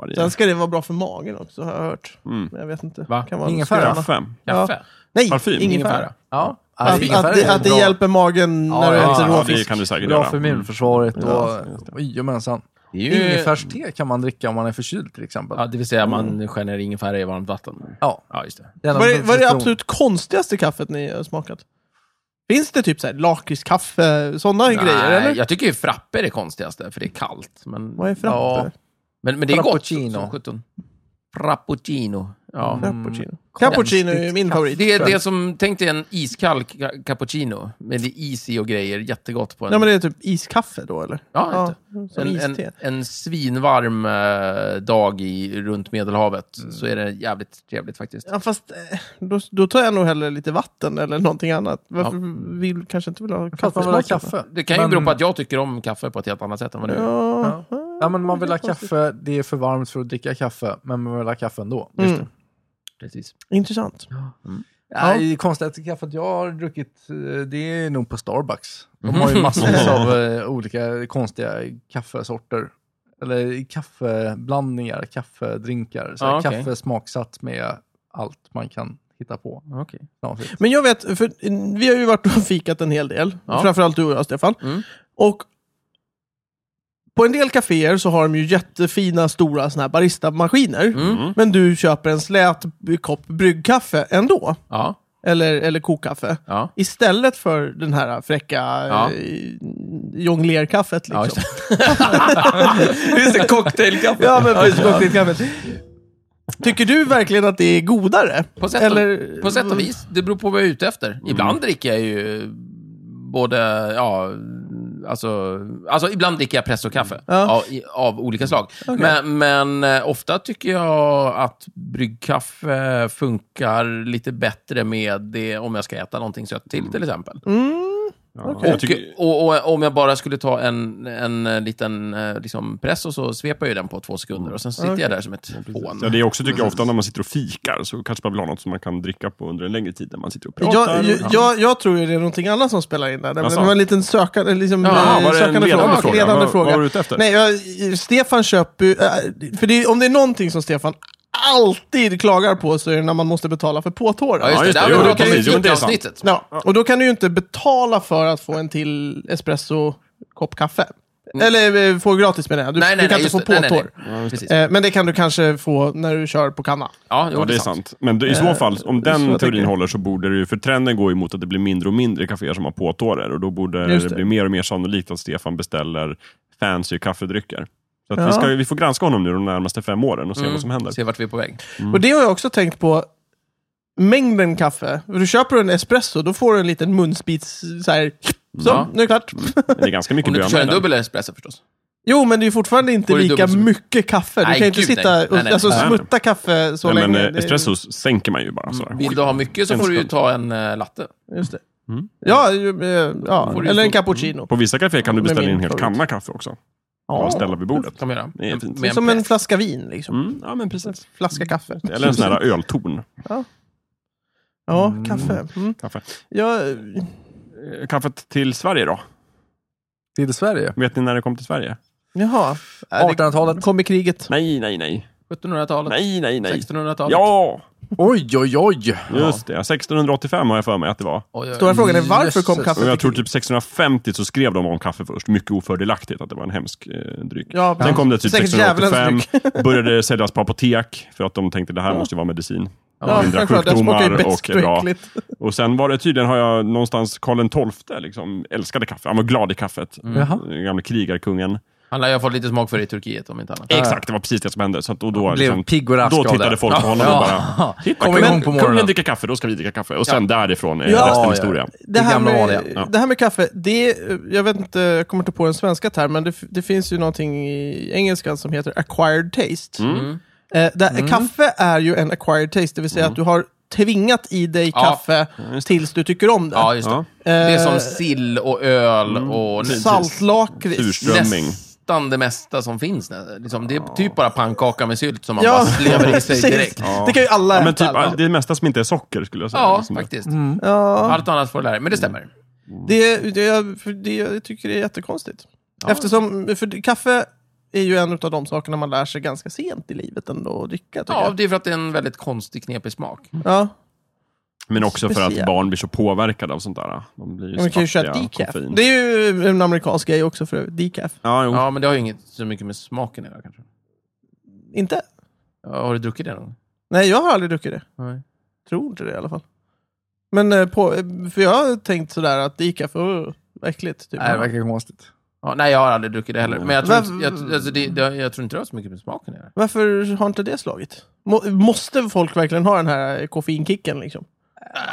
Varje Mm.
Sen ska det vara bra för magen också har jag hört. Men jag vet inte.
Va?
Kan vara
Ingefära?
skröna.
kaffe.
Ja.
Kaffe?
Nej,
Parfym?
ingefära.
Ja.
Att,
Ingefära
att,
är
det, att det
bra.
hjälper magen
Ja,
när du
ja,
äter
Ja,
råfisk.
det kan du säkert
Bra
göra. Mm.
för immunförsvaret.
Ja,
Och,
just det.
Jajamensan.
Det är ju-
Ingefärste kan man dricka om man är förkyld till exempel.
Ja, det vill säga man skär ner ingefära i varmt vatten.
Ja.
Ja, just det.
Gärna
Vad är,
med
vad är det
citron.
absolut konstigaste kaffet ni har smakat? Finns det typ så här lakritskaffe, sådana grejer? Eller?
Jag tycker ju frappe är det konstigaste, för det är kallt. Men,
Vad är frappe?
Ja, men, men det är gott.
Frappuccino.
som sjutton. Frappuccino. Ja. Mm.
Cappuccino. Cappuccino är ju min Mm. favorit.
Det är det som, tänk dig en iskall ca- cappuccino med det is i och grejer. Jättegott på en...
Ja, men det är typ iskaffe då eller?
Ja, inte.
som
En,
iste.
en, en svinvarm eh, dag i, runt Medelhavet så är det jävligt trevligt faktiskt.
Ja, fast eh, då, då tar jag nog hellre lite vatten eller någonting annat. Varför vill kanske inte vill ha
För att man vill ha
kaffesmak?
kaffe.
Det kan ju
Men-
bero på att jag tycker om kaffe på ett helt annat sätt än vad du gör.
Ja.
Ja, men man vill ha kaffe, det är för varmt för att dricka kaffe, men man vill ha kaffe ändå.
Mm.
Precis.
Intressant.
Ja. Det konstigaste kaffet jag har druckit, eh, det är nog på Starbucks. De har ju massvis av eh, olika konstiga kaffesorter. Eller kaffeblandningar, kaffedrinkar. Så här,
Ja, okej.
Kaffe smaksatt med allt man kan hitta på.
Okej.
Knasigt.
Men jag vet, för eh, vi har ju varit och fikat en hel del.
Ja.
Framförallt du och jag, Stefan.
Mm.
Och på en del kaféer så har de ju jättefina stora såna här baristamaskiner.
Mm.
Men du köper en slät b- kopp bryggkaffe ändå.
Ja,
Eller, eller kokkaffe.
ja.
Istället för den här fräcka
Ja.
eh, jonglerkaffet.
Ja,
Liksom.
just det. just det, cocktailkaffe.
Ja, men precis. Cocktailkaffet. Tycker du verkligen att det är godare?
På sätt,
Eller-
och, på sätt och
Mm.
vis. Det beror på vad jag är ute efter. Ibland dricker jag ju både, ja, alltså, alltså ibland dricker jag
Mm.
pressokaffe
Ja.
av, i- av olika slag. Men, men eh, ofta tycker jag att bryggkaffe funkar lite bättre med det om jag ska äta någonting sött till, till exempel.
Ja.
Okej.
Mm. Jag tycker-
Och, och om jag bara skulle ta en, en eh, liten eh, liksom press och så svepar jag ju den på två sekunder och sen sitter jag där som ett fån.
Mm. Ja, det är också tycker jag ofta när man sitter och fikar så kanske man vill ha något som man kan dricka på under en längre tid när man sitter och pratar.
Jag, jag- jag, jag tror ju det är någonting annat som spelar in där. Det
Jaså?
var en liten sökande, liksom,
Ja,
eh,
var det en
sökande
ledande
fråga.
fråga?
Ledande
Vad-
fråga.
vad var du ute efter?
Nej, jag, Stefan köper ju... eh, För det, är- om det är någonting som Stefan alltid klagar på så är det när man måste betala för påtårar.
Ja, just
Ja,
det.
just det.
Där
Jo,
var
jo,
det
precis. Jo, men det är sant.
avsnittet.
Ja, och då kan du ju inte betala för att få en till espresso-kopp kaffe. Eller eh, få gratis med det. Du,
Mm. Nej, nej,
du kan
nej,
inte
just
få
det. Nej, nej,
påtår.
Precis.
Eh, Men det kan du kanske få när du kör på kanna.
Ja, jo,
Ja, det är sant. Men då- i så fall, om
så
den
jag
teorin
tänker.
håller så borde det ju, för trenden går ju mot att det blir mindre och mindre kaféer som har påtårer och då borde
Just
det.
det.
bli mer och mer sannolikt att Stefan beställer fancy kaffedrycker. Så att
Ja.
vi, ska, ju- vi får granska honom nu de närmaste fem åren och se
Mm.
vad som händer.
Se vart vi är på väg.
Och det har jag också tänkt på. Mängden kaffe. För du köper en espresso, då får du en liten munspits så här. Så,
Ja.
nu är det klart.
Men Det är ganska mycket
Om du inte kör en
bönor.
dubbel espresso förstås.
Jo, men det är ju fortfarande inte
Får du
lika
dubbelt så mycket?
mycket kaffe. Du
Nej,
kan ju inte
gud,
sitta
nej.
och
Nej, nej.
alltså,
Nej.
smutta kaffe så
Nej,
länge.
men eh,
Det-
espresso sänker man ju bara sådär.
Mm. Vill du ha mycket så får du ju
sekund.
ta en eh, latte.
Just det. Ja, ju, eh, ja.
Får
eller en
du ju få- Mm.
cappuccino.
Mm. På vissa kaféer kan du
Med
beställa in
min
en hel
favorit.
kanna kaffe också.
Ja.
Bara ställa vid bordet.
Kan man göra.
Det är fint.
Det är
Med
som
en
en
press.
flaska vin, liksom.
Mm, ja, men precis.
Flaska kaffe.
Eller en sån här öltorn.
Ja, kaffe. Mm.
Kaffe.
Ja,
Eh, Kaffet till Sverige då?
Till Sverige?
Vet ni när det kom till Sverige?
Jaha. Ja, det
1800-talet.
Kommer kriget.
Nej, nej, nej.
1700-talet?
Nej, nej, nej.
1600-talet?
Ja,
Oj, oj, oj!
just det. 1685 har jag för mig att det var.
Oj, oj,
Stora frågan är varför kom
Jösses.
kaffe
Och jag
till
tror
kriget?
typ 1650 så skrev de om kaffe först. Mycket ofördelaktigt att det var en hemsk eh, dryck.
Ja,
Sen
precis.
kom det typ
Säkert djävulens
1685. Började det säljas på apotek för att de tänkte det här måste ju vara medicin.
Ja,
Lindrar
självklart. Den smakar ju
sjukdomar
bäst
och är bra.
och äckligt.
Och sen var det tydligen, har jag någonstans, Karl XII liksom älskade kaffe. Han var glad i kaffet.
Mm.
Jaha.
Den gamle krigarkungen.
Han lär ju ha fått lite smak för det i Turkiet om inte annat.
Exakt, det var precis det som hände. Så att då, då,
Blev
liksom,
pigg och rask
då
av
tittade
det.
folk på honom och bara, titta,
Kom igång
kungen-
på morgonen.
Kungen dricker kaffe, då ska vi dricka kaffe. Och sen därifrån är
Ja,
resten
ja.
historia.
det
Det
här,
gamla
med,
vanliga.
Ja.
det här med kaffe, det, jag vet inte, jag kommer inte på den svenska termen, det, det finns ju någonting i engelskan som heter acquired taste.
Mm.
Eh, där, Kaffe är ju en acquired taste, det vill
Mm.
säga att du har tvingat i dig
Ja.
kaffe tills du tycker om det.
Ja, mm. just det.
Ja.
Det är
Eh,
som sill och öl och nä-
Saltlakrits.
Surströmming.
nästan det mesta som finns. nä- Liksom, det är typ bara pannkaka med sylt som man
Ja,
bara slevar i sig
precis.
direkt.
Det kan ju alla
Ja, men
äta.
typ,
alla.
det mesta som inte är socker skulle jag säga.
Ja,
Liksom.
faktiskt.
ja.
Allt annat får du lära dig, men
Mm.
det stämmer.
Det, det, jag- för det, jag tycker det är jättekonstigt. Eftersom, för det- kaffe är ju en av de sakerna man lär sig ganska sent i livet ändå att dricka. tycker
Ja,
jag.
det är för att det är en väldigt konstig, knepig smak.
Ja.
Men också för
Speciellt.
att barn blir så påverkade av sånt där. De blir ju
Men Man kan ju
så
köra
fattiga av
decaf.
koffein.
Det är ju en amerikansk grej också för övrigt. Decaf.
Ja, jo.
Ja, men det har ju inget så mycket med smaken att göra kanske.
Inte?
Ja, har du druckit det någon gång?
Nej, jag har aldrig druckit det.
Nej.
Tror inte det i alla fall. Men eh, på, eh, för jag har tänkt sådär att decaf, uh, äckligt. Typ.
Nej, det verkar konstigt.
Ja, nej, jag har aldrig druckit det heller. Men jag tror,
Varför-
inte, jag, alltså, det, det, jag tror inte det har så mycket med smaken att göra.
Varför har inte det slagit? Må, måste folk verkligen ha den här koffeinkicken liksom?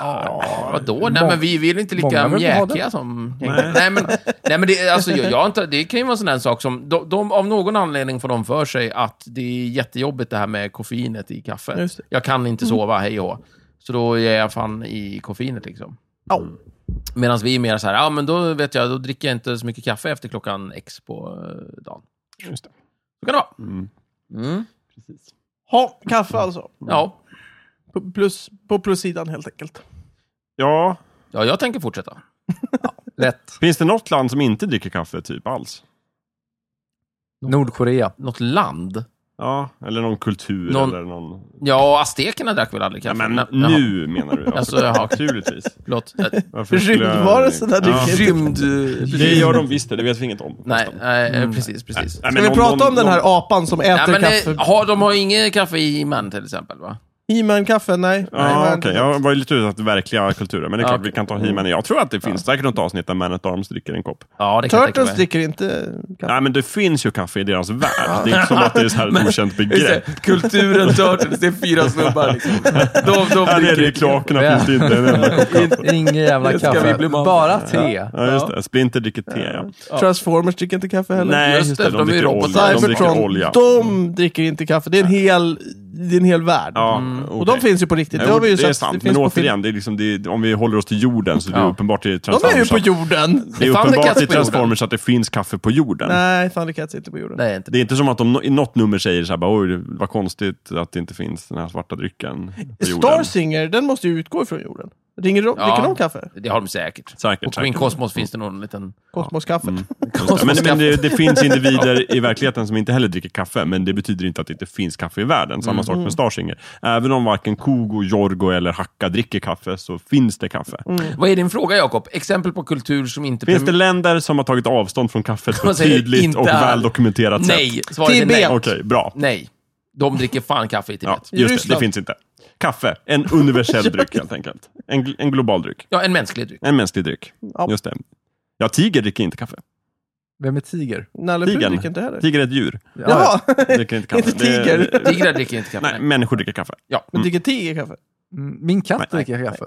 Vadå? Nej,
Mång-
men vi vill inte lika
många vill ha
mjäkiga som... Nej, men, nej, men det, alltså, jag, jag har inte, det kan ju vara en sån där sak som... De, de, av någon anledning får de för sig att det är jättejobbigt det här med koffeinet i kaffet.
Just det.
Jag kan inte sova, hej och hå. Så då ger jag fan i koffeinet liksom.
Ja.
Medan vi är mer så här, ja men då vet jag, då dricker jag inte så mycket kaffe efter klockan X på eh, dagen.
Just det.
Så kan det vara.
Mm.
Mm.
Precis.
Ha, kaffe alltså.
Ja.
På, plus, på plussidan helt enkelt.
Ja,
ja, jag tänker fortsätta.
Lätt.
finns det något land som inte dricker kaffe typ alls?
Nordkorea.
Något land?
Ja, eller någon kultur
Någon-
eller någon...
Ja, aztekerna drack väl aldrig
Ja,
kaffe?
men
Nej, jaha,
nu menar du? Ja.
Alltså, jaha.
Naturligtvis.
Förlåt. Eh,
Varför skulle jag-
Rymdvarelserna
Ja.
dyker
Rymd...
Det gör de visst det, det vet vi inget om.
Nej,
Nästan.
nej eh, precis, precis.
Nej, men
Ska vi
någon-
prata om
någon-
den här
någon-
apan som
Nej,
äter
men
kaffe?
eh, har, de har ju inget kaffe i man till exempel, va?
He-Man-kaffe? Nej. Nej,
Ja,
vad är
okej.
det?
Jag var ju lite ute efter verkliga kulturer, men det är
Ja,
klart
okej.
vi kan ta He-Man. Jag tror att det finns säkert något avsnitt där Man at Arms dricker en kopp.
Ja, det kan jag tänka
Turtles
mig.
dricker inte kaffe.
Nej, men det finns ju kaffe i deras värld. Det är inte som att det är så här ett okänt begrepp.
Kulturen Turtles, det är fyra snubbar liksom. De, de
Här nere i kloakerna finns det inte en enda kopp.
Ingen jävla
ska vi bli
kaffe.
mamma.
Bara te.
Ja, just det. Splinter dricker te, ja.
Transformers dricker inte kaffe heller.
Nej,
Just
just
det,
det.
de
De
är ju
dricker
robotar.
olja. De dricker
Cybertron,
olja.
de dricker inte kaffe. Det är en hel, det är en hel värld.
Ja,
Mm. Och de finns ju på riktigt. Det har vi ju
det är
sett.
sant,
finns
men
på film.
återigen, det är liksom, det är, om vi håller oss till jorden så det är
Ja.
uppenbart i
De är ju
Transformers.
på
att-
jorden!
Det är
Thundercats
uppenbart i
på jorden.
Transformers att det finns kaffe på jorden.
Nej, Thundercats är inte på jorden.
Nej, inte
Det är inte som att de no- i något nummer säger så här, bara, oj, vad konstigt att det inte finns den här svarta drycken på jorden.
Star Singer, den måste ju utgå ifrån jorden. Ringer de,
Ja.
Dricker de kaffe?
det. Det har de säkert.
Säkert,
Och på min
säkert.
kosmos finns det någon liten...
Kosmoskaffe.
Mm. Ja, Men, men det, det finns individer i verkligheten som inte heller dricker kaffe, men det betyder inte att det inte finns kaffe i världen. Samma
Mm.
sak med Starsinger. Även om varken Kogo, Jorgo eller Hacka dricker kaffe, så finns det kaffe.
Vad är din fråga, Jakob? Exempel på kultur som inte...
Finns det länder som har tagit avstånd från kaffet på
Man
ett
Mm. säger
tydligt
inte
och
all-
väl dokumenterat sätt?
Nej, svaret är nej.
Tibet.
Okej, bra.
Nej. De dricker fan kaffe i
Ja,
Tibet.
just
Ja,
det, det
Ryssland.
finns inte. Kaffe, en universell dryck helt enkelt. En, gl- en global dryck.
en mänsklig dryck.
En mänsklig dryck.
Ja.
Just det. Ja, tiger dricker inte kaffe.
Vem är tiger?
Nalle Puh
Tigern.
dricker inte heller.
Tiger är ett djur.
Jaha!
Dricker inte kaffe.
Inte tiger.
Det- det-
Tigrar dricker inte kaffe.
Nej,
Nej.
människor dricker kaffe.
Ja.
Men dricker tiger kaffe?
Mm, Min katt
Nej.
dricker kaffe.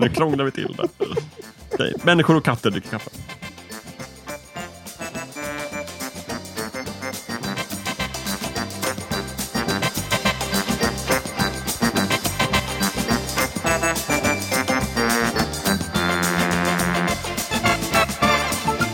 nu krånglar vi till det. Okej, Människor och katter dricker kaffe.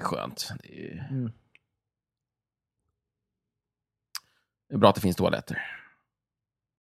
skönt. Det är, ju... det är bra att det finns toaletter.